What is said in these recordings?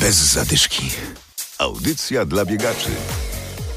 bez zadyszki. Audycja dla biegaczy.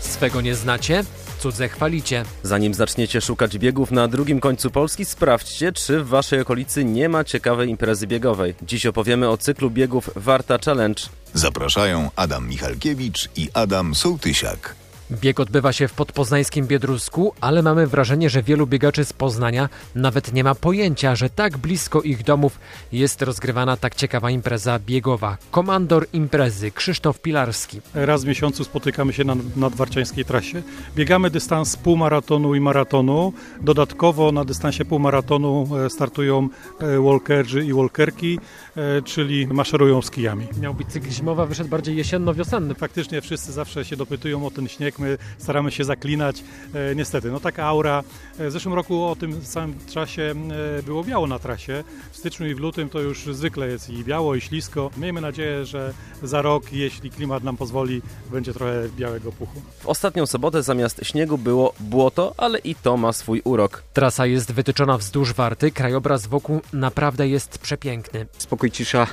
Swego nie znacie, cudze chwalicie. Zanim zaczniecie szukać biegów na drugim końcu Polski, sprawdźcie, czy w waszej okolicy nie ma ciekawej imprezy biegowej. Dziś opowiemy o cyklu biegów Warta Challenge. Zapraszają Adam Michalkiewicz i Adam Sołtysiak. Bieg odbywa się w podpoznańskim Biedrusku, ale mamy wrażenie, że wielu biegaczy z Poznania nawet nie ma pojęcia, że tak blisko ich domów jest rozgrywana tak ciekawa impreza biegowa. Komandor imprezy Krzysztof Pilarski. Raz w miesiącu spotykamy się na nadwarczańskiej trasie. Biegamy dystans półmaratonu i maratonu. Dodatkowo na dystansie półmaratonu e, startują e, walkerzy i walkerki, e, czyli maszerują z kijami. Miał być cykl zimowy, wyszedł bardziej jesienno-wiosenny. Faktycznie wszyscy zawsze się dopytują o ten śnieg, my staramy się zaklinać. E, niestety, no taka aura. E, w zeszłym roku o tym samym czasie e, było biało na trasie. W styczniu i w lutym to już zwykle jest i biało, i ślisko. Miejmy nadzieję, że za rok, jeśli klimat nam pozwoli, będzie trochę białego puchu. W ostatnią sobotę zamiast śniegu było błoto, ale i to ma swój urok. Trasa jest wytyczona wzdłuż warty, krajobraz wokół naprawdę jest przepiękny. spokój, cisza.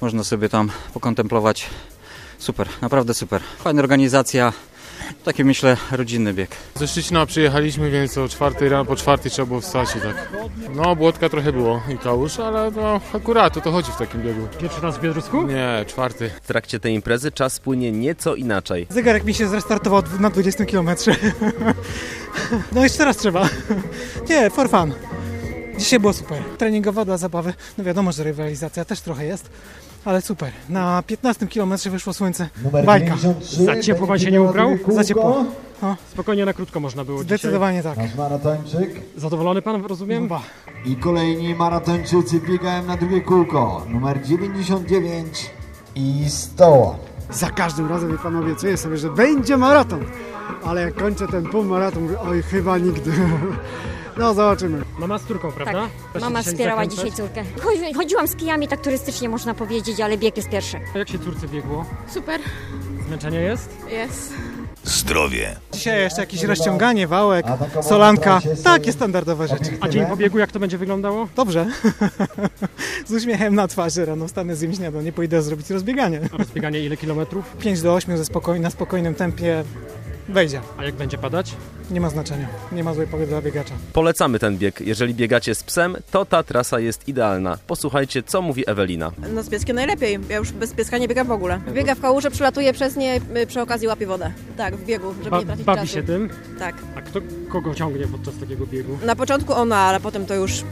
Można sobie tam pokontemplować. Super, naprawdę super. Fajna organizacja. Taki myślę rodzinny bieg. Ze Szczecina przyjechaliśmy, więc o czwartej rano, po czwartej trzeba było wstać i tak. No, błotka trochę było i kałuż, ale no, akurat o to chodzi w takim biegu. Pierwszy raz w Biedrusku? Nie, czwarty. W trakcie tej imprezy czas płynie nieco inaczej. Zegarek mi się zrestartował na 20 km. No jeszcze raz trzeba. Nie, for fun. Dzisiaj było super. Treningowa dla zabawy. No wiadomo, że rywalizacja też trochę jest, ale super. Na 15 km wyszło słońce. Bajka. Za ciepło pan się nie ubrał? Za ciepło. Spokojnie na krótko można było Zdecydowanie tak. Nasz maratończyk. dzisiaj. Zadowolony pan, rozumiem? Chyba. I kolejni maratończycy biegają na drugie kółko. Numer 99 i 100. Za każdym razem, wie pan, obiecuję sobie, że będzie maraton. Ale jak kończę ten półmaraton, mówię, oj, chyba nigdy. No, zobaczymy. Mama z córką, prawda? Tak. Mama wspierała dzisiaj córkę. Chodzi- Chodziłam z kijami, tak turystycznie można powiedzieć, ale bieg jest pierwszy. Jak się córce biegło? Super, Zmęczenie jest? jest. Zdrowie. Dzisiaj jeszcze jakieś rozciąganie, wałek, solanka. Takie standardowe rzeczy. A dzień po biegu jak to będzie wyglądało? Dobrze. Z uśmiechem na twarzy rano wstanę, zjem śniadanie, pójdę zrobić rozbieganie. A Rozbieganie ile kilometrów? 5 do 8 ze spokoj, na spokojnym tempie wejdzie. A jak będzie padać? Nie ma znaczenia. Nie ma złej pogody dla biegacza. Polecamy ten bieg. Jeżeli biegacie z psem, to ta trasa jest idealna. Posłuchajcie, co mówi Ewelina. No z pieskiem najlepiej. Ja już bez pieska nie biegam w ogóle. Biega w kałuże, przelatuje przez nie, y, przy okazji łapie wodę. Tak, w biegu, żeby nie tracić czasu. tym. Tak. A kto kogo ciągnie podczas takiego biegu? Na początku ona, ale potem to już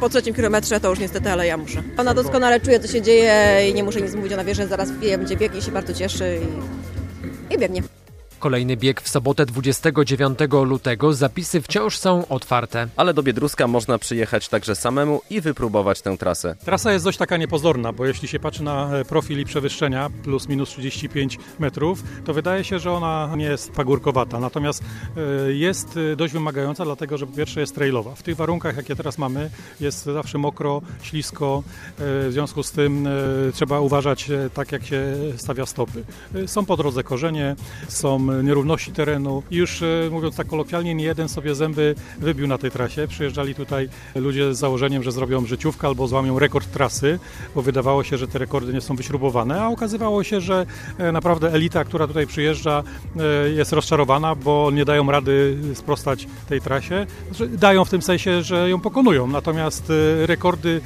po trzecim kilometrze to już niestety, ale ja muszę. Ona doskonale czuje, co się dzieje i nie muszę nic mówić, ona wie, że zaraz wie, będzie biegnie i się bardzo cieszy i, i biegnie. Kolejny bieg w sobotę 29 lutego. Zapisy wciąż są otwarte. Ale do Biedruska można przyjechać także samemu i wypróbować tę trasę. Trasa jest dość taka niepozorna, bo jeśli się patrzy na e, profil i przewyższenia plus minus 35 metrów, to wydaje się, że ona nie jest pagórkowata. Natomiast e, jest e, dość wymagająca, dlatego że po pierwsze jest trailowa. W tych warunkach, jakie teraz mamy, jest zawsze mokro, ślisko. e, W związku z tym e, trzeba uważać e, tak, jak się stawia stopy. E, Są po drodze korzenie, są e, nierówności terenu i już e, mówiąc tak kolokwialnie, nie jeden sobie zęby wybił na tej trasie. Przyjeżdżali tutaj ludzie z założeniem, że zrobią życiówkę albo złamią rekord trasy, bo wydawało się, że te rekordy nie są wyśrubowane, a okazywało się, że e, naprawdę elita, która tutaj przyjeżdża, e, jest rozczarowana, bo nie dają rady sprostać tej trasie. Znaczy, Dają w tym sensie, że ją pokonują, natomiast e, rekordy,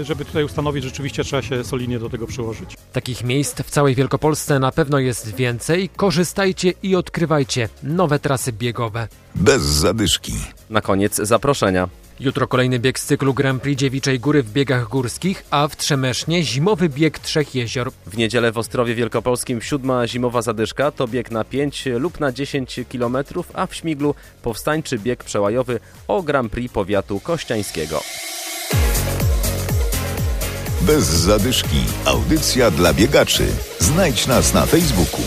e, żeby tutaj ustanowić, rzeczywiście trzeba się solidnie do tego przyłożyć. Takich miejsc w całej Wielkopolsce na pewno jest więcej. Korzystajcie i odkrywajcie nowe trasy biegowe. Bez zadyszki. Na koniec zaproszenia. Jutro kolejny bieg z cyklu Grand Prix Dziewiczej Góry w biegach górskich, a w Trzemesznie zimowy bieg Trzech Jezior. W niedzielę w Ostrowie Wielkopolskim siódma zimowa zadyszka to bieg na 5 lub na 10 km, a w Śmiglu powstańczy bieg przełajowy o Grand Prix Powiatu Kościańskiego. Bez zadyszki. Audycja dla biegaczy. Znajdź nas na Facebooku.